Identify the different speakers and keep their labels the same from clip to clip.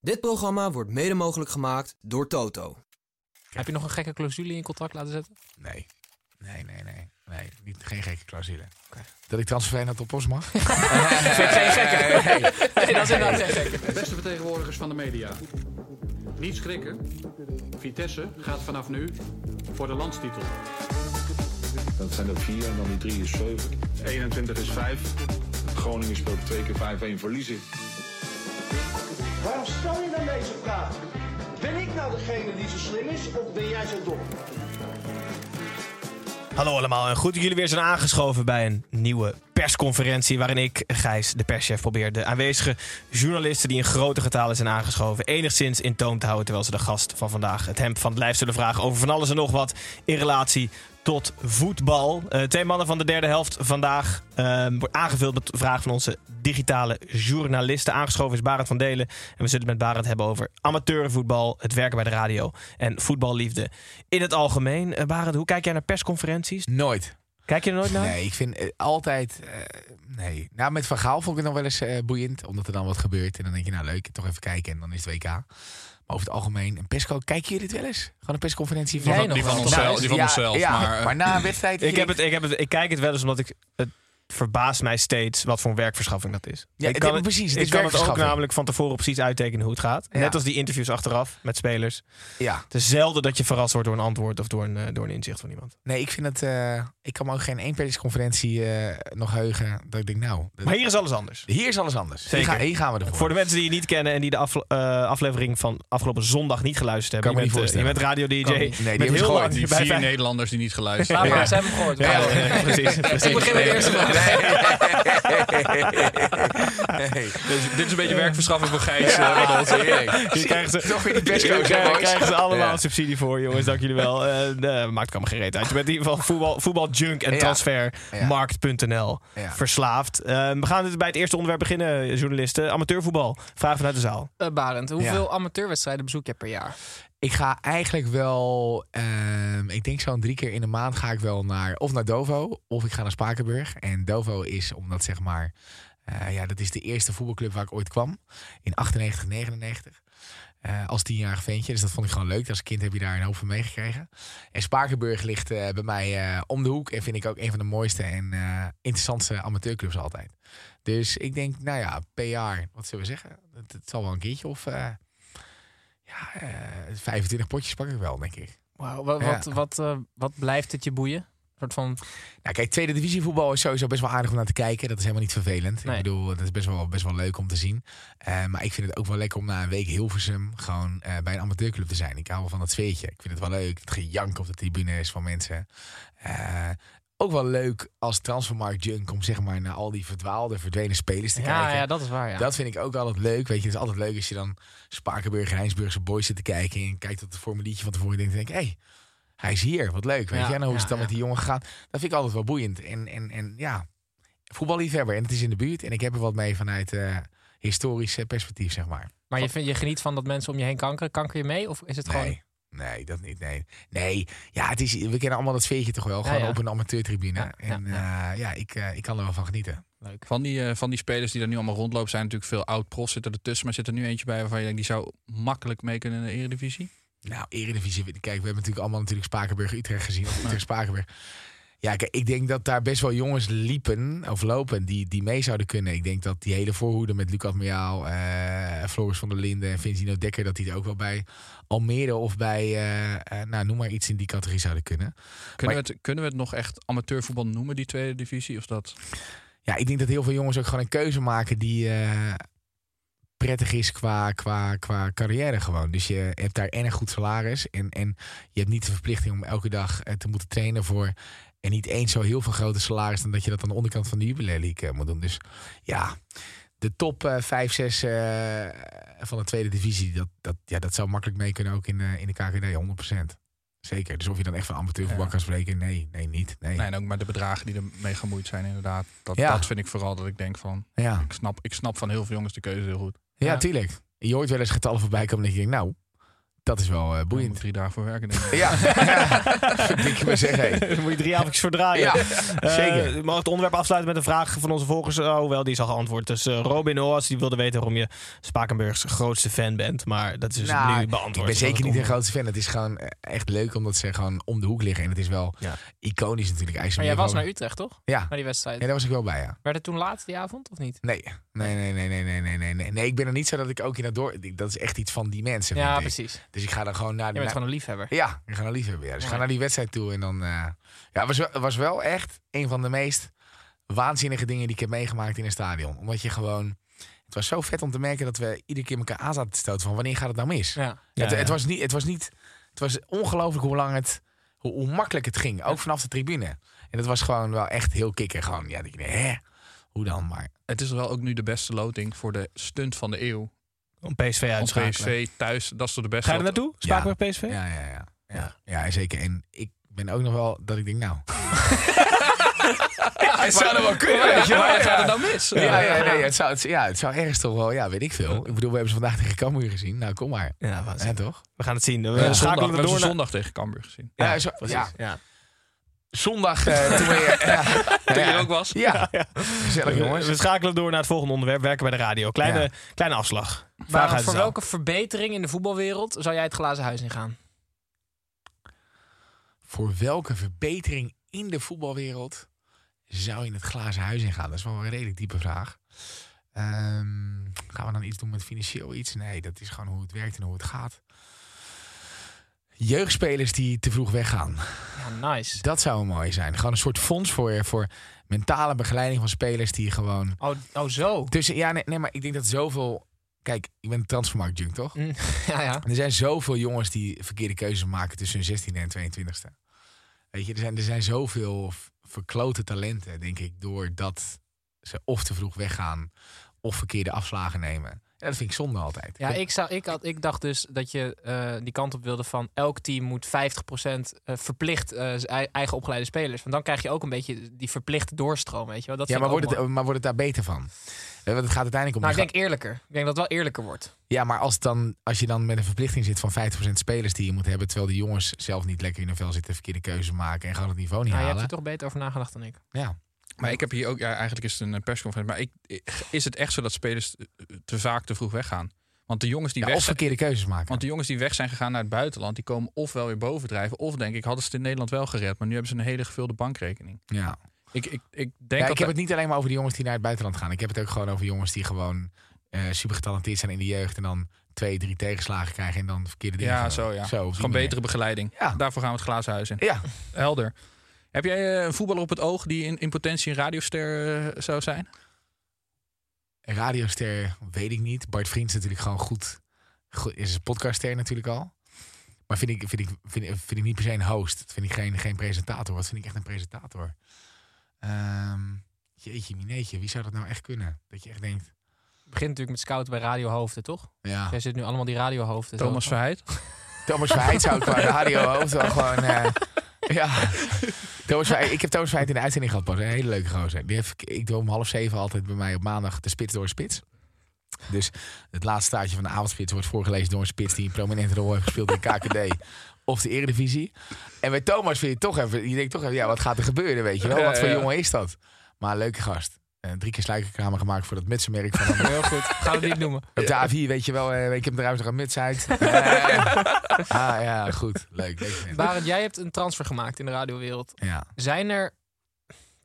Speaker 1: Dit programma wordt mede mogelijk gemaakt door Toto.
Speaker 2: Heb je nog een gekke clausule in je contract laten zetten?
Speaker 3: Nee. Nee, nee, nee. Nee, niet, geen gekke clausule. Dat ik transfervrij naar Topos mag?
Speaker 2: Nee, dat is inderdaad geen gekke.
Speaker 4: Beste vertegenwoordigers van de media. Niet schrikken. Vitesse gaat vanaf nu voor de landstitel.
Speaker 5: Dat zijn er vier en dan die drie is zeven. 21 is vijf. Groningen speelt twee keer 5-1 verliezen.
Speaker 6: Waarom stel je dan deze vraag? Ben ik nou degene die zo slim is of ben jij zo dom?
Speaker 7: Hallo allemaal en goed dat jullie weer zijn aangeschoven bij een nieuwe persconferentie. Waarin ik, Gijs, de perschef, probeer de aanwezige journalisten die in grote getalen zijn aangeschoven. enigszins in toom te houden. Terwijl ze de gast van vandaag het hemd van het lijf zullen vragen over van alles en nog wat in relatie tot voetbal. Eh, twee mannen van de derde helft vandaag eh, wordt aangevuld met de vraag van onze digitale journalisten. Aangeschoven is Barend van Delen. En we zullen het met Barend hebben over amateurvoetbal, het werken bij de radio en voetballiefde in het algemeen. Eh, Barend, hoe kijk jij naar persconferenties?
Speaker 3: Nooit.
Speaker 7: Kijk je er nooit naar?
Speaker 3: Nee, ik vind eh, altijd... eh, nee. Nou, met Van Gaal vond ik het nog wel eens eh, boeiend. Omdat er dan wat gebeurt. En dan denk je, nou leuk, toch even kijken. En dan is het WK. Maar over het algemeen, een persco, kijken jullie dit wel eens? Gewoon een persconferentie van...
Speaker 2: Jij nog Die van wel. Nou, onszelf-
Speaker 3: die van onszelf. maar, na een wedstrijd...
Speaker 7: Ik, heb het, ik, heb het, ik kijk het wel eens omdat ik. Het verbaast mij steeds wat voor een werkverschaffing dat is.
Speaker 3: Ja,
Speaker 7: ik
Speaker 3: dit- precies, het is
Speaker 7: Ik kan het ook
Speaker 3: werkverschaffing.
Speaker 7: namelijk van tevoren precies uittekenen hoe het gaat.
Speaker 3: Ja.
Speaker 7: Net als die interviews achteraf met spelers.
Speaker 3: Ja.
Speaker 7: Het is zelden dat je verrast wordt door een antwoord of door een, eh, door een inzicht van iemand.
Speaker 3: Nee, ik vind het... eh, ik kan me ook geen één persconferentie eh, nog heugen. Dat ik denk, nou... dat-
Speaker 7: Maar hier is alles anders.
Speaker 3: Hier is alles anders. Hier,
Speaker 7: Zeker.
Speaker 3: gaan- hier gaan we ervoor.
Speaker 7: Voor de mensen die je niet kennen en die de afle- eh, aflevering van afgelopen zondag niet geluisterd hebben.
Speaker 3: Kan
Speaker 7: je,
Speaker 3: me
Speaker 7: bent,
Speaker 3: niet
Speaker 7: eh, je bent radio DJ.
Speaker 3: Kan niet. Nee, die
Speaker 7: bent
Speaker 3: hebben ze
Speaker 7: heel
Speaker 3: gehoord.
Speaker 7: lang
Speaker 8: Die
Speaker 7: bij
Speaker 8: vier
Speaker 7: vijf-
Speaker 8: Nederlanders die niet geluisterd
Speaker 2: Laat
Speaker 8: hebben.
Speaker 2: maar, ze hebben hem gehoord.
Speaker 7: Ja,
Speaker 2: Wauw.
Speaker 7: ja, precies.
Speaker 2: Ik begin met de eerste vraag.
Speaker 8: Dus dit is een beetje werkverschaffing voor Gijs. eh,
Speaker 3: Ja,
Speaker 8: wat ons-
Speaker 7: Je krijgt ze,
Speaker 3: Toch weer die best
Speaker 7: Hier
Speaker 3: coach, hè,
Speaker 7: krijgen,
Speaker 3: boys?
Speaker 7: krijgen ze allemaal
Speaker 3: Ja.
Speaker 7: een subsidie voor, jongens. Dank jullie wel. Eh eh, maakt allemaal geen reet uit. Je bent in ieder geval voetbal, voetbaljunk en
Speaker 3: Ja.
Speaker 7: transfermarkt.nl
Speaker 3: Ja.
Speaker 7: verslaafd. Eh, we gaan dus bij het eerste onderwerp beginnen, journalisten. Amateurvoetbal. Vraag vanuit de zaal.
Speaker 2: Eh, Barend, hoeveel
Speaker 3: Ja.
Speaker 2: amateurwedstrijden bezoek jij per jaar?
Speaker 3: Ik ga eigenlijk wel, ehm, ik denk zo'n drie keer in de maand ga ik wel naar, of naar Dovo, of ik ga naar Spakenburg. En Dovo is omdat zeg maar, eh, ja, dat is de eerste voetbalclub waar ik ooit kwam, in 98, 99. eh, als tienjarig ventje, dus dat vond ik gewoon leuk. Als kind heb je daar een hoop van meegekregen. En Spakenburg ligt eh, bij mij eh, om de hoek en vind ik ook een van de mooiste en eh, interessantste amateurclubs altijd. Dus ik denk, nou ja, per jaar, wat zullen we zeggen? Het, het zal wel een keertje of... eh, ja, eh, 25 potjes pak ik wel, denk ik.
Speaker 2: Wauw, wat,
Speaker 3: Ja.
Speaker 2: wat, wat, eh, wat blijft het je boeien? Een soort van
Speaker 3: Nou, kijk, tweede divisie voetbal is sowieso best wel aardig om naar te kijken. Dat is helemaal niet vervelend.
Speaker 2: Nee.
Speaker 3: Ik bedoel, dat is best wel, best wel leuk om te zien. Eh, maar ik vind het ook wel lekker om na een week Hilversum gewoon eh, bij een amateurclub te zijn. Ik hou wel van dat sfeertje. Ik vind het wel leuk. Het gejank op de tribunes van mensen. Eh, ook wel leuk als transfermarkt junk om zeg maar naar al die verdwaalde, verdwenen spelers te
Speaker 2: ja,
Speaker 3: kijken.
Speaker 2: ja, dat is waar. Ja.
Speaker 3: Dat vind ik ook altijd leuk. Weet je, het is altijd leuk als je dan Spakenburg en Heinsburgse boys zit te kijken. En kijkt op het formuliertje van tevoren. En denkt, hé, hey, hij is hier. Wat leuk. Weet
Speaker 2: Ja,
Speaker 3: je, en hoe
Speaker 2: ja,
Speaker 3: is het dan
Speaker 2: ja.
Speaker 3: met die jongen gegaan? Dat vind ik altijd wel boeiend. En, en, en ja, voetballiefhebber. En het is in de buurt. En ik heb er wat mee vanuit eh, historisch eh, perspectief, zeg maar.
Speaker 2: maar je, vindt- je geniet van dat mensen om je heen kankeren. Kanker je mee? Of is het gewoon...
Speaker 3: Nee. Nee, dat niet. Nee, nee. Ja, het is, we kennen allemaal dat sfeertje toch wel. Gewoon
Speaker 2: ja.
Speaker 3: op een amateurtribune.
Speaker 2: Ja, ja,
Speaker 3: en ja, ja ik, eh, ik kan er wel van genieten.
Speaker 2: Leuk.
Speaker 8: Van die, eh, van die spelers die er nu allemaal rondlopen, zijn natuurlijk veel oud-profs zitten ertussen. Maar zit er nu eentje bij waarvan je denkt, die zou makkelijk mee kunnen in de eredivisie?
Speaker 3: Nou, Eredivisie. Kijk, we hebben natuurlijk allemaal natuurlijk Spakenburg-Utrecht gezien. Of Utrecht-Spakenburg. Ja, kijk, ik denk dat daar best wel jongens liepen of lopen die, die mee zouden kunnen. Ik denk dat die hele voorhoede met Lucas Meaal, eh, Floris van der Linden en Vincino Dekker... dat die er ook wel bij Almere of bij, eh, eh, nou, noem maar iets in die categorie zouden kunnen.
Speaker 8: Kunnen, we, het, kunnen we het nog echt amateurvoetbal noemen, die tweede divisie? Of dat?
Speaker 3: Ja, ik denk dat heel veel jongens ook gewoon een keuze maken die eh, prettig is qua, qua, qua carrière gewoon. Dus je hebt daar en een goed salaris en, en je hebt niet de verplichting om elke dag eh, te moeten trainen voor... En niet eens zo heel veel grote salaris dan dat je dat aan de onderkant van de Jubilee League eh, moet doen. Dus ja, de top eh, 5, 6 eh, van de tweede divisie, dat, dat, ja, dat zou makkelijk mee kunnen ook in, eh, in de KKD, 100%. Zeker. Dus of je dan echt van amateurvoetbal
Speaker 8: Ja.
Speaker 3: kan spreken, nee, nee, niet. Nee.
Speaker 8: Nee, en ook met de bedragen die ermee gemoeid zijn, inderdaad. Dat,
Speaker 3: Ja.
Speaker 8: dat vind ik vooral dat ik denk van.
Speaker 3: Ja.
Speaker 8: Ik snap, ik snap van heel veel jongens de keuze heel goed.
Speaker 3: ja, tuurlijk. Je hoort wel eens getallen voorbij komen dat je denkt, nou, dat is wel eh,
Speaker 8: Daar moet
Speaker 3: boeiend.
Speaker 8: ik drie dagen voor werken. Denk ik.
Speaker 3: Ja, ik je maar zeggen. hé.
Speaker 7: Dan moet je drie avondjes voor draaien.
Speaker 3: Ja,
Speaker 7: Eh,
Speaker 3: zeker.
Speaker 7: we mogen het onderwerp afsluiten met een vraag van onze volgers. Oh, hoewel, die is al geantwoord. Dus eh, Robin Oas, die wilde weten waarom je Spakenburgs grootste fan bent. Maar dat is dus
Speaker 3: Nou,
Speaker 7: nu beantwoord.
Speaker 3: Ik ben
Speaker 7: Dat
Speaker 3: zeker
Speaker 7: het
Speaker 3: niet een
Speaker 7: onder-
Speaker 3: grootste fan. Het is gewoon eh, echt leuk omdat ze gewoon om de hoek liggen. En het is wel
Speaker 7: Ja.
Speaker 3: iconisch natuurlijk.
Speaker 2: Maar jij
Speaker 3: IJsselmeer
Speaker 2: was
Speaker 3: gewoon.
Speaker 2: naar Utrecht, toch?
Speaker 3: Ja.
Speaker 2: Naar die wedstrijd.
Speaker 3: ja, daar was ik wel bij, ja.
Speaker 2: Werd het toen laat die avond, of niet?
Speaker 3: Nee, nee, nee, nee, nee, nee, nee, nee, nee. Nee, ik ben er niet zo dat ik ook in dat door... ik- Dat is echt iets van die mensen.
Speaker 2: Ja,
Speaker 3: vind ik.
Speaker 2: precies. Je
Speaker 3: Dus ik ga dan gewoon naar... de.
Speaker 2: bent gewoon een liefhebber.
Speaker 3: Ja, ik ga naar liefhebben. Ja. Dus ik ga
Speaker 2: Ja.
Speaker 3: naar die wedstrijd toe en dan... eh, Ja, het was, wel- was wel echt een van de meest waanzinnige dingen die ik heb meegemaakt in een stadion. Omdat je gewoon... Het was zo vet om te merken dat we iedere keer elkaar aan zaten te stoten van wanneer gaat het nou mis?
Speaker 2: Ja.
Speaker 7: Ja,
Speaker 3: het,
Speaker 7: ja.
Speaker 3: het was niet, het was niet, het was ongelooflijk hoe lang het, hoe, hoe makkelijk het ging, ook vanaf de tribune. En dat was gewoon wel echt heel kikker. Gewoon, ja, dat je denkt, hè, hoe dan? Maar
Speaker 8: Het is wel ook nu de beste loting voor de stunt van de eeuw.
Speaker 7: Om PSV uit
Speaker 8: Ons
Speaker 7: te
Speaker 8: PSV thuis, dat is toch de beste.
Speaker 7: Ga je er naartoe? Spakenburg PSV?
Speaker 3: ja, ja, ja, ja, ja, zeker. En ik ben ook nog wel dat ik denk, nou,
Speaker 8: Ja, het zou er wel kunnen. Ja, waar gaat het dan mis?
Speaker 3: ja, ja, nee, het zou, het, ja, het zou ergens toch wel, ja, weet ik veel. Ik bedoel, we hebben ze vandaag tegen Cambuur gezien. Nou, kom maar,
Speaker 7: Ja, waanzinnig.
Speaker 3: hè, toch?
Speaker 7: We gaan het zien. We
Speaker 8: We zondag,
Speaker 7: schakelen
Speaker 8: we
Speaker 7: er
Speaker 8: hebben
Speaker 7: door
Speaker 8: ze
Speaker 7: naar...
Speaker 8: zondag tegen Cambuur gezien.
Speaker 3: Ja, zo-
Speaker 7: precies.
Speaker 3: ja.
Speaker 7: Ja.
Speaker 3: Zondag eh, toen we, ja,
Speaker 8: Toen je
Speaker 3: ja,
Speaker 8: er ook was.
Speaker 3: ja, gezellig jongens.
Speaker 7: We schakelen door naar het volgende onderwerp. Werken bij de radio. Kleine,
Speaker 3: Ja.
Speaker 7: kleine afslag.
Speaker 2: Maar
Speaker 7: Vraag uit de
Speaker 2: voor
Speaker 7: zaal.
Speaker 2: welke verbetering in de voetbalwereld zou jij het glazen huis in gaan?
Speaker 3: voor welke verbetering in de voetbalwereld zou je in het glazen huis ingaan? Dat is wel een redelijk diepe vraag. Ehm, gaan we dan iets doen met financieel iets? Nee, dat is gewoon hoe het werkt en hoe het gaat. Jeugdspelers die te vroeg weggaan.
Speaker 2: Ja, nice.
Speaker 3: Dat zou mooi zijn. Gewoon een soort fonds voor, voor mentale begeleiding van spelers die gewoon.
Speaker 2: Oh, oh zo.
Speaker 3: Tussen, ja, nee, nee, maar ik denk dat zoveel. Kijk, ik ben transfermarktjunk, toch?
Speaker 2: Mm, ja, ja.
Speaker 3: Er zijn zoveel jongens die verkeerde keuzes maken tussen hun 16e en 22e. Weet je, er zijn, er zijn zoveel v- verklote talenten, denk ik, doordat ze of te vroeg weggaan of verkeerde afslagen nemen. En dat vind ik zonde altijd.
Speaker 2: ja ik, zou, ik, had, ik dacht dus dat je eh, die kant op wilde van elk team moet 50% eh, verplicht eh, zijn ei- eigen opgeleide spelers. Want dan krijg je ook een beetje die verplichte doorstroom, weet je wel. Dat
Speaker 3: ja
Speaker 2: vind
Speaker 3: maar,
Speaker 2: ik ook
Speaker 3: wordt het,
Speaker 2: mooi.
Speaker 3: maar wordt het daar beter van? Eh, Want het gaat uiteindelijk om.
Speaker 2: Nou,
Speaker 3: je
Speaker 2: ik denk eerlijker. Ik denk dat het wel eerlijker wordt.
Speaker 3: ga- Ja, maar als, het dan, als je dan met een verplichting zit van 50% spelers die je moet hebben, terwijl de jongens zelf niet lekker in hun vel zitten, verkeerde keuzes maken en gewoon het niveau niet
Speaker 2: Nou, je hebt
Speaker 3: halen.
Speaker 2: er toch beter over nagedacht dan ik.
Speaker 3: Ja.
Speaker 8: Maar ik heb hier ook, ja, eigenlijk is het een eh, persconferentie. Maar ik, eh, is het echt zo dat spelers eh, te vaak te vroeg weggaan? Want de jongens die
Speaker 3: Ja,
Speaker 8: weg
Speaker 3: of
Speaker 8: zijn,
Speaker 3: verkeerde keuzes maken.
Speaker 8: want de jongens die weg zijn gegaan naar het buitenland, die komen ofwel weer bovendrijven, of denk ik hadden ze het in Nederland wel gered, maar nu hebben ze een hele gevulde bankrekening.
Speaker 3: ja.
Speaker 8: Ik, ik, ik denk
Speaker 3: ja,
Speaker 8: dat
Speaker 3: ik heb
Speaker 8: er-
Speaker 3: het niet alleen maar over de jongens die naar het buitenland gaan. Ik heb het ook gewoon over jongens die gewoon eh, super getalenteerd zijn in de jeugd. En dan twee, drie tegenslagen krijgen en dan verkeerde dingen
Speaker 8: ja,
Speaker 3: gaan
Speaker 8: zo
Speaker 3: doen.
Speaker 8: ja.
Speaker 3: Zo, op die
Speaker 8: Gewoon
Speaker 3: manier.
Speaker 8: betere begeleiding.
Speaker 3: Ja.
Speaker 8: Daarvoor gaan we het glazen huis in.
Speaker 3: Ja,
Speaker 8: Helder. Heb jij eh, een voetballer op het oog die in, in potentie een radioster eh, zou zijn?
Speaker 3: Een radioster weet ik niet. Bart Vriends is natuurlijk gewoon goed. goed is een podcastster natuurlijk al. Maar vind ik, vind, ik, vind, ik- vind ik niet per se een host. Dat vind ik geen, geen presentator. Wat vind ik echt een presentator? Ehm, jeetje, mineetje. Wie zou dat nou echt kunnen? Dat je echt denkt...
Speaker 2: Het begint natuurlijk met scouten bij radiohoofden, toch?
Speaker 3: Ja.
Speaker 2: Jij zit nu allemaal die radiohoofden. zo.
Speaker 8: Thomas Verheid.
Speaker 3: Thomas Verheid zou ik qua radiohoofd wel gewoon... eh, ja. Thomas Verheid- ik heb Thomas Verheid in de uitzending gehad pas. Een hele leuke gozer. Die heeft, ik doe om half zeven altijd bij mij op maandag de spits door de spits. Dus het laatste staartje van de avondspits wordt voorgelezen door een spits... die een prominente rol heeft gespeeld in de KKD of de Eredivisie. En bij Thomas vind je toch even... Je denkt toch even, ja, wat gaat er gebeuren, weet je wel?
Speaker 8: Ja,
Speaker 3: Wat voor
Speaker 8: ja.
Speaker 3: jongen is dat? Maar een leuke gast. Eh, drie keer sluikerkramen gemaakt voor dat mutsenmerk van hem.
Speaker 2: Heel goed. Gaan we dit noemen.
Speaker 3: Op de A4, weet je wel, eh, ik heb trouwens nog een muts uit. Eh, ah ja, goed. Leuk. leuk vent.
Speaker 2: Barend, jij hebt een transfer gemaakt in de radiowereld.
Speaker 3: Ja.
Speaker 2: Zijn er,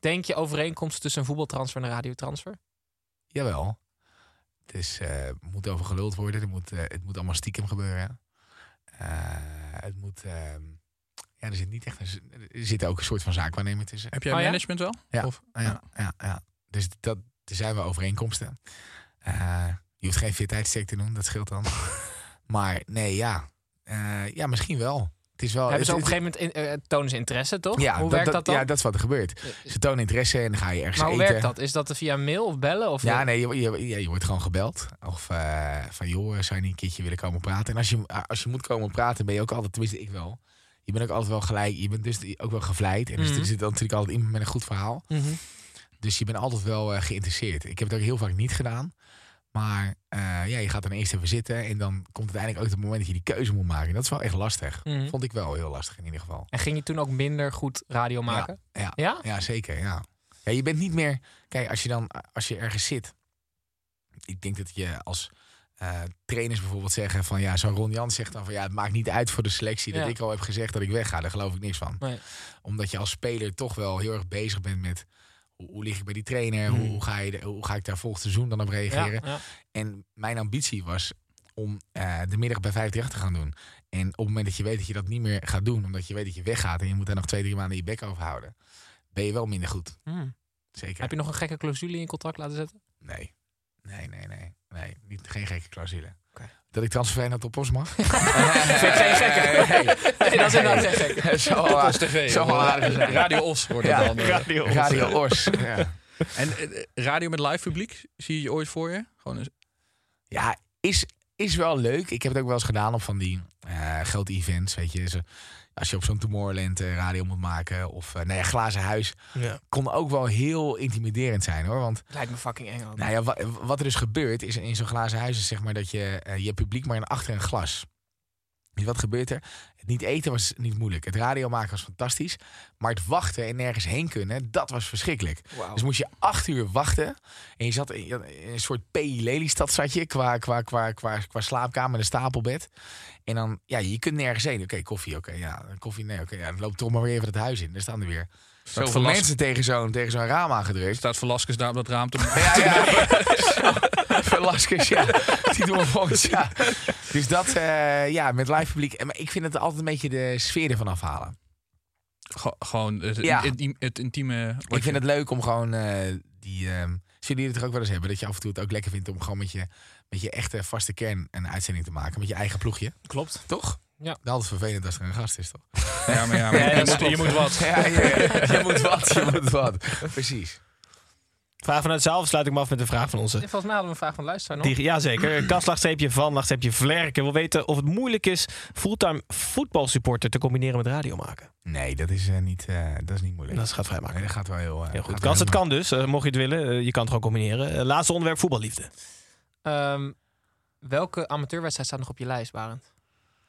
Speaker 2: denk je, overeenkomsten tussen een voetbaltransfer en een radiotransfer?
Speaker 3: Oh, Jawel. Het is, eh, het moet over geluld worden. Het moet, eh, het moet allemaal stiekem gebeuren. Eh, het moet... ehm, ja, er zit niet echt... een- Er zit ook een soort van zaakwaarnemer tussen.
Speaker 8: Heb jij
Speaker 2: Oh ja?
Speaker 8: management wel?
Speaker 3: Ja.
Speaker 8: Of,
Speaker 3: Ja, ja, ja. Dus dat, er zijn wel overeenkomsten. Eh, je hoeft geen fitheidscheck te doen, dat scheelt dan. maar nee, ja. Eh, ja, misschien wel. Het is wel.
Speaker 2: Hebben ze op
Speaker 3: het-
Speaker 2: een gegeven moment in, eh, tonen ze interesse, toch?
Speaker 3: ja,
Speaker 2: hoe werkt dat, dan?
Speaker 3: Ja, dat is wat er gebeurt. Ze tonen interesse en dan ga je ergens
Speaker 2: maar hoe
Speaker 3: eten.
Speaker 2: werkt dat? Is dat via mail of bellen? Of
Speaker 3: Ja, nee, je, je, je- je wordt gewoon gebeld. Of eh, van, joh, zou je niet een keertje willen komen praten? En als je, ah, als je moet komen praten, ben je ook altijd, tenminste ik wel. Je bent ook altijd wel gelijk, je bent dus ook wel gevleid. En dus
Speaker 2: Mhm.
Speaker 3: er zit dan natuurlijk altijd iemand met een goed verhaal.
Speaker 2: Mhm.
Speaker 3: Dus je bent altijd wel eh, geïnteresseerd. Ik heb het ook heel vaak niet gedaan. Maar eh, ja, je gaat dan eerst even zitten. En dan komt uiteindelijk ook het moment dat je die keuze moet maken. En dat is wel echt lastig.
Speaker 2: Mhm.
Speaker 3: Vond ik wel heel lastig in ieder geval.
Speaker 2: En ging je toen ook minder goed radio maken?
Speaker 3: Ja,
Speaker 2: Ja?
Speaker 3: ja, zeker. Ja. Ja, je bent niet meer. Kijk, als je dan als je ergens zit. Ik denk dat je als eh, trainers bijvoorbeeld zeggen van ja, zo'n Ron Jans zegt dan van ja, het maakt niet uit voor de selectie dat
Speaker 2: Ja.
Speaker 3: ik al heb gezegd dat ik wegga. Daar geloof ik niks van.
Speaker 2: Nee.
Speaker 3: Omdat je als speler toch wel heel erg bezig bent met hoe, hoe lig ik bij die trainer? Hoe, hoe ga je, de- hoe ga ik daar volgend seizoen dan op
Speaker 2: Hmm. Ja,
Speaker 3: reageren?
Speaker 2: ja.
Speaker 3: En mijn ambitie was om eh, de middag bij 50 te gaan doen. En op het moment dat je weet dat je dat niet meer gaat doen, omdat je weet dat je weggaat en je moet daar nog twee, drie maanden je bek over houden, ben je wel minder goed.
Speaker 2: Hmm.
Speaker 3: Zeker.
Speaker 2: Heb je nog een gekke clausule in je contract laten zetten?
Speaker 3: Nee. Nee, nee, nee. Nee, niet, geen gekke clausule.
Speaker 2: Oké.
Speaker 3: Dat ik transfervrij naar Topos mag?
Speaker 2: Vind ik geen gekke.
Speaker 3: Nee,
Speaker 2: Nee, dat is inderdaad geen gekke.
Speaker 3: nee. Zo, eh,
Speaker 8: Als tv.
Speaker 3: Zo wel aardig zijn.
Speaker 8: Radio Os wordt het
Speaker 3: Ja.
Speaker 8: dan. eh.
Speaker 3: Radio Ors. Ja.
Speaker 8: En eh, radio met live publiek, zie je je ooit voor je? Gewoon een-
Speaker 3: Ja, is, is wel leuk. Ik heb het ook wel eens gedaan op van die eh grote events. Weet je, Zo- als je op zo'n Tomorrowland eh, radio moet maken. Of eh nee, Glazen Huis.
Speaker 7: Ja.
Speaker 3: Kon ook wel heel intimiderend zijn hoor. Want
Speaker 2: Lijkt me fucking eng. ook.
Speaker 3: nou ja, wa- wat er dus gebeurt is in zo'n glazen huis is zeg maar dat je eh, je hebt publiek maar in achter een glas. Dus wat gebeurt er? Het niet eten was niet moeilijk. Het radio maken was fantastisch. Maar het wachten en nergens heen kunnen, dat was verschrikkelijk.
Speaker 2: Wauw.
Speaker 3: Dus moest je acht uur wachten. En je zat in, je had een soort P. Lelystad zat je qua, qua, qua, qua, qua slaapkamer en een stapelbed. En dan, ja, je kunt nergens heen. Oké, koffie, oké. ja, koffie, nee, oké. ja, dan loopt toch maar weer even het huis in. Daar staan er weer. Zoveel
Speaker 8: last.
Speaker 3: mensen tegen zo'n tegen zo'n raam aangedrukt.
Speaker 8: staat Velasquez daar op dat raam te...
Speaker 3: Ja, ja. Velasquez, ja. Die doen we volgens ja. Dus dat, eh, ja, met live publiek. En Maar ik vind het altijd een beetje de sfeer ervan afhalen.
Speaker 8: Ge- gewoon het,
Speaker 3: Ja.
Speaker 8: het, het intieme... wat
Speaker 3: ik vind
Speaker 8: je-
Speaker 3: het leuk om gewoon eh, die... ehm zullen jullie het er ook wel eens hebben? Dat je af en toe het ook lekker vindt om gewoon met je, met je echte vaste kern een uitzending te maken. Met je eigen ploegje.
Speaker 2: Klopt.
Speaker 3: Toch?
Speaker 2: Ja.
Speaker 3: Dat is altijd vervelend als er een gast is, toch?
Speaker 8: Ja, maar ja, maar
Speaker 7: Ja,
Speaker 8: je,
Speaker 7: dat
Speaker 8: moet,
Speaker 7: klopt.
Speaker 8: je moet wat.
Speaker 3: Ja, ja, je moet wat, je moet wat. Precies.
Speaker 7: Vraag vanuit de zaal, of sluit ik me af met een vraag van onze.
Speaker 2: Volgens mij hadden we een vraag van de luisteraar nog.
Speaker 7: Die, jazeker. Kaslagstreepje van, lagstreepje vlerken. Wil weten of het moeilijk is fulltime voetbalsupporter te combineren met radio maken.
Speaker 3: Nee, dat is, eh, niet, eh, dat is niet moeilijk.
Speaker 7: Dat gaat vrij
Speaker 3: Nee,
Speaker 7: makkelijk.
Speaker 3: dat gaat wel heel, eh,
Speaker 7: Heel goed.
Speaker 3: gaat
Speaker 7: Kans,
Speaker 3: wel
Speaker 7: het kan dus, eh, mocht je het willen. Eh, je kan het gewoon combineren. Eh, laatste onderwerp, voetballiefde.
Speaker 2: Ehm, welke amateurwedstrijd staat nog op je lijst, Barend?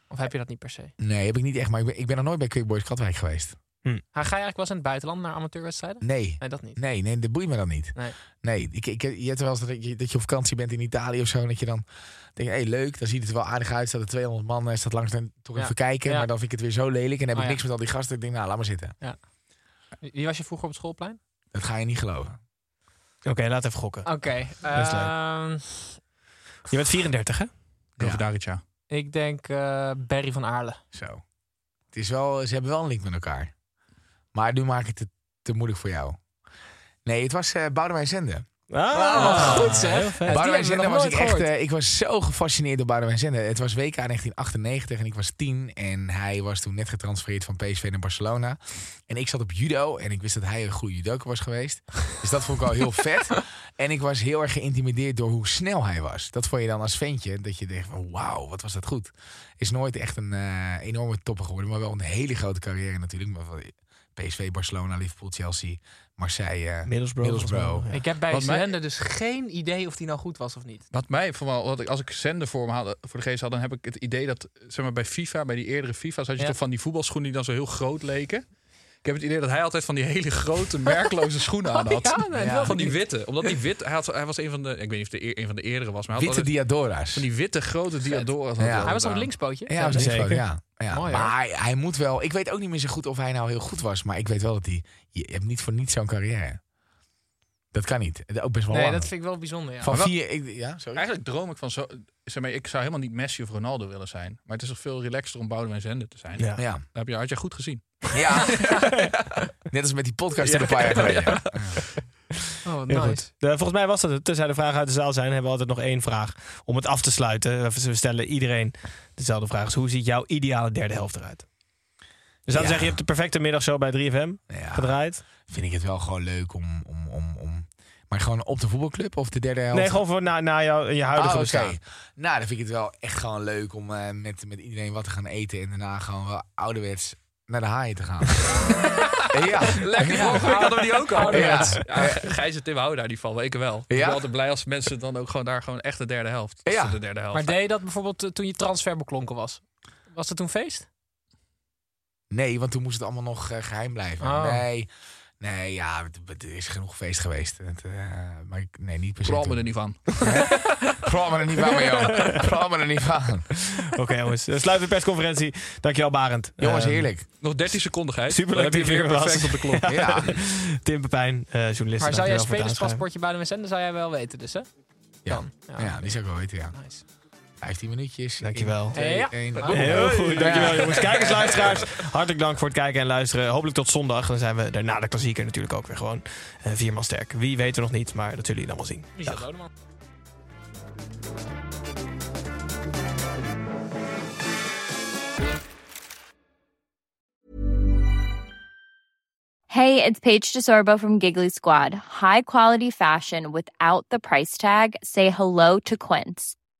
Speaker 2: Of heb je dat niet per se?
Speaker 3: Nee, heb ik niet echt. Maar ik ben, ik ben nog nooit bij Quickboys Katwijk geweest.
Speaker 2: Ga je eigenlijk wel eens in het buitenland naar amateurwedstrijden?
Speaker 3: Nee.
Speaker 2: Nee, dat niet.
Speaker 3: Nee, nee, dat boeit me dan niet.
Speaker 2: Nee.
Speaker 3: Nee, ik, ik, je hebt wel eens dat je, dat je op vakantie bent in Italië of zo. En dat je dan denkt, hé, hey, leuk, dan ziet het er wel aardig uit. Staat er 200 man, eh, staat langs en toch
Speaker 2: Ja.
Speaker 3: even kijken.
Speaker 2: Ja.
Speaker 3: Maar dan vind ik het weer zo lelijk. En dan heb
Speaker 2: Oh,
Speaker 3: ik
Speaker 2: ja.
Speaker 3: niks met al die gasten. Ik denk, nou, laat maar zitten.
Speaker 2: Wie wie was je vroeger op het schoolplein?
Speaker 3: Dat ga je niet geloven.
Speaker 7: Oké, laat even gokken.
Speaker 2: Oké.
Speaker 7: is leuk.
Speaker 2: ehm,
Speaker 7: Je bent 34, hè?
Speaker 8: Over
Speaker 3: Ja.
Speaker 8: Darica.
Speaker 2: ik denk eh Barry van Aarle.
Speaker 3: Zo. Het is wel, ze hebben wel een link met elkaar. Maar nu maak ik het te, te moeilijk voor jou. Nee, het was eh Boudewijn Zende.
Speaker 2: Ah, wat goed, zeg.
Speaker 7: heel vet.
Speaker 2: die
Speaker 3: Boudewijn
Speaker 2: hebben we
Speaker 3: Zender
Speaker 2: nog
Speaker 3: was ik
Speaker 2: nooit
Speaker 3: echt...
Speaker 2: gehoord.
Speaker 3: eh, ik was zo gefascineerd door Boudewijn Zender. Het was WK 1998 en ik was tien. En hij was toen net getransfereerd van PSV naar Barcelona. En ik zat op judo en ik wist dat hij een goede judoka was geweest. Dus dat vond ik al heel vet. En ik was heel erg geïntimideerd door hoe snel hij was. Dat vond je dan als ventje. Dat je denkt van wauw, wat was dat goed. Is nooit echt een eh, enorme topper geworden. Maar wel een hele grote carrière natuurlijk. Maar van PSV, Barcelona, Liverpool, Chelsea, Marseille. eh,
Speaker 7: Middlesbrough.
Speaker 3: Middlesbrough.
Speaker 7: volgens mij.
Speaker 2: Ik heb bij
Speaker 8: Wat mij-
Speaker 2: Zender dus geen idee of die nou goed was of niet.
Speaker 8: Wat mij vooral, wat ik, als ik zender voor me had, voor de geest had, dan heb ik het idee dat, zeg maar, bij FIFA, bij die eerdere FIFA's, had je
Speaker 2: Ja.
Speaker 8: toch van die voetbalschoenen die dan zo heel groot leken. Ik heb het idee dat hij altijd van die hele grote, merkloze schoenen aan had.
Speaker 2: Ja, nee,
Speaker 3: Ja.
Speaker 2: wel.
Speaker 8: Van die witte. Omdat die wit, hij, had, zo- hij was een van de, ik weet niet of het de eer- een van de eerdere was, maar hij had
Speaker 3: Witte
Speaker 8: altijd
Speaker 3: Diadora's.
Speaker 8: van die witte grote diadoren.
Speaker 3: Ja.
Speaker 2: Hij was op het linkspootje.
Speaker 3: Ja,
Speaker 7: Zeker.
Speaker 3: zeker. Ja. Ja.
Speaker 2: Mooi, hoor.
Speaker 3: maar hij, hij moet wel. Ik weet ook niet meer zo goed of hij nou heel goed was. Maar ik weet wel dat hij. Je hebt niet voor niets zo'n carrière. Dat kan niet. Dat- Ook best wel
Speaker 2: Nee,
Speaker 3: lang.
Speaker 2: dat vind ik wel bijzonder. Ja.
Speaker 3: Van
Speaker 8: Maar wel-
Speaker 3: vier. Ik, ja, sorry.
Speaker 8: Eigenlijk droom ik van zo. Zeg maar, ik zou helemaal niet Messi of Ronaldo willen zijn. Maar het is toch veel relaxter om Boudewijn Zender te zijn.
Speaker 7: Ja.
Speaker 3: Ja.
Speaker 8: Dat heb je, had jij goed gezien.
Speaker 3: ja. Net als met die podcast die we een paar jaar geleden.
Speaker 2: Oh,
Speaker 7: Heel
Speaker 2: nice.
Speaker 7: goed. Eh, volgens mij was dat het. Tenzij de vragen uit de zaal zijn, hebben we altijd nog één vraag. Eh, Om het af te sluiten. We stellen iedereen dezelfde vraag. Dus hoe ziet jouw ideale derde helft eruit? Dus
Speaker 3: Ja.
Speaker 7: dan
Speaker 3: Ah,
Speaker 7: zeg je, je hebt de perfecte middagshow bij 3FM
Speaker 3: Ja,
Speaker 7: gedraaid.
Speaker 3: vind ik het wel gewoon leuk om, om, om, om... Maar gewoon op de voetbalclub of de derde helft?
Speaker 7: Nee, gewoon voor na, na jou, je huidige
Speaker 3: Oh, oké.
Speaker 7: bestaan.
Speaker 3: Nou, dan vind ik het wel echt gewoon leuk om eh, met, met iedereen wat te gaan eten. En daarna gewoon wel ouderwets naar de haaien te gaan. ja.
Speaker 8: Lekker, vorige week hadden we die ook al.
Speaker 3: Ja.
Speaker 8: Ja. Gijs en Tim houden daar die van, ik wel. Ik ben
Speaker 3: Ja.
Speaker 8: altijd blij als mensen dan ook gewoon daar gewoon echt de derde helft. Als
Speaker 3: Ja.
Speaker 8: ze De derde helft.
Speaker 2: Maar deed je dat bijvoorbeeld eh, toen je transfer beklonken was? Was dat toen feest?
Speaker 3: Nee, want toen moest het allemaal nog eh, geheim blijven.
Speaker 2: Oh.
Speaker 3: Nee, nee, ja, het- het- er is genoeg feest geweest. Het, eh, maar ik, nee, niet per se.
Speaker 8: Vooral me
Speaker 3: toen.
Speaker 8: er niet van.
Speaker 3: Praat me er niet van, maar joh. Praat me er niet van.
Speaker 7: Oké jongens, Eh, sluit de persconferentie. Dankjewel Barend.
Speaker 3: Jongens,
Speaker 7: Eh,
Speaker 3: heerlijk.
Speaker 8: Nog 13 seconden, Gijs.
Speaker 7: Superleuk
Speaker 8: Dan heb je
Speaker 7: dat je
Speaker 8: weer
Speaker 7: er was.
Speaker 8: perfect op de klok.
Speaker 3: Ja. ja.
Speaker 7: Tim Pepijn, eh journalist.
Speaker 2: Maar zou jij
Speaker 7: dankjewel voor het aanschrijven.
Speaker 2: spelerspaspoortje bij de MSN? Dat zou jij wel weten dus, hè? Dan. Ja.
Speaker 3: die zou ik wel weten, ja.
Speaker 2: Nice.
Speaker 3: 15 minuutjes.
Speaker 7: Dankjewel.
Speaker 3: Eén,
Speaker 2: Ja.
Speaker 3: één.
Speaker 7: Heel goed, dankjewel jongens. Kijkers, luisteraars, hartelijk dank voor het kijken en luisteren. Hopelijk tot zondag. Dan zijn we daarna de klassieker natuurlijk ook weer gewoon eh, vierman sterk. Wie weten we nog niet, maar dat zullen jullie dan wel zien.
Speaker 2: Michel Rodeman.
Speaker 9: Hey, it's Paige DeSorbo from Giggly Squad. High quality fashion without the price tag. Say hello to Quince.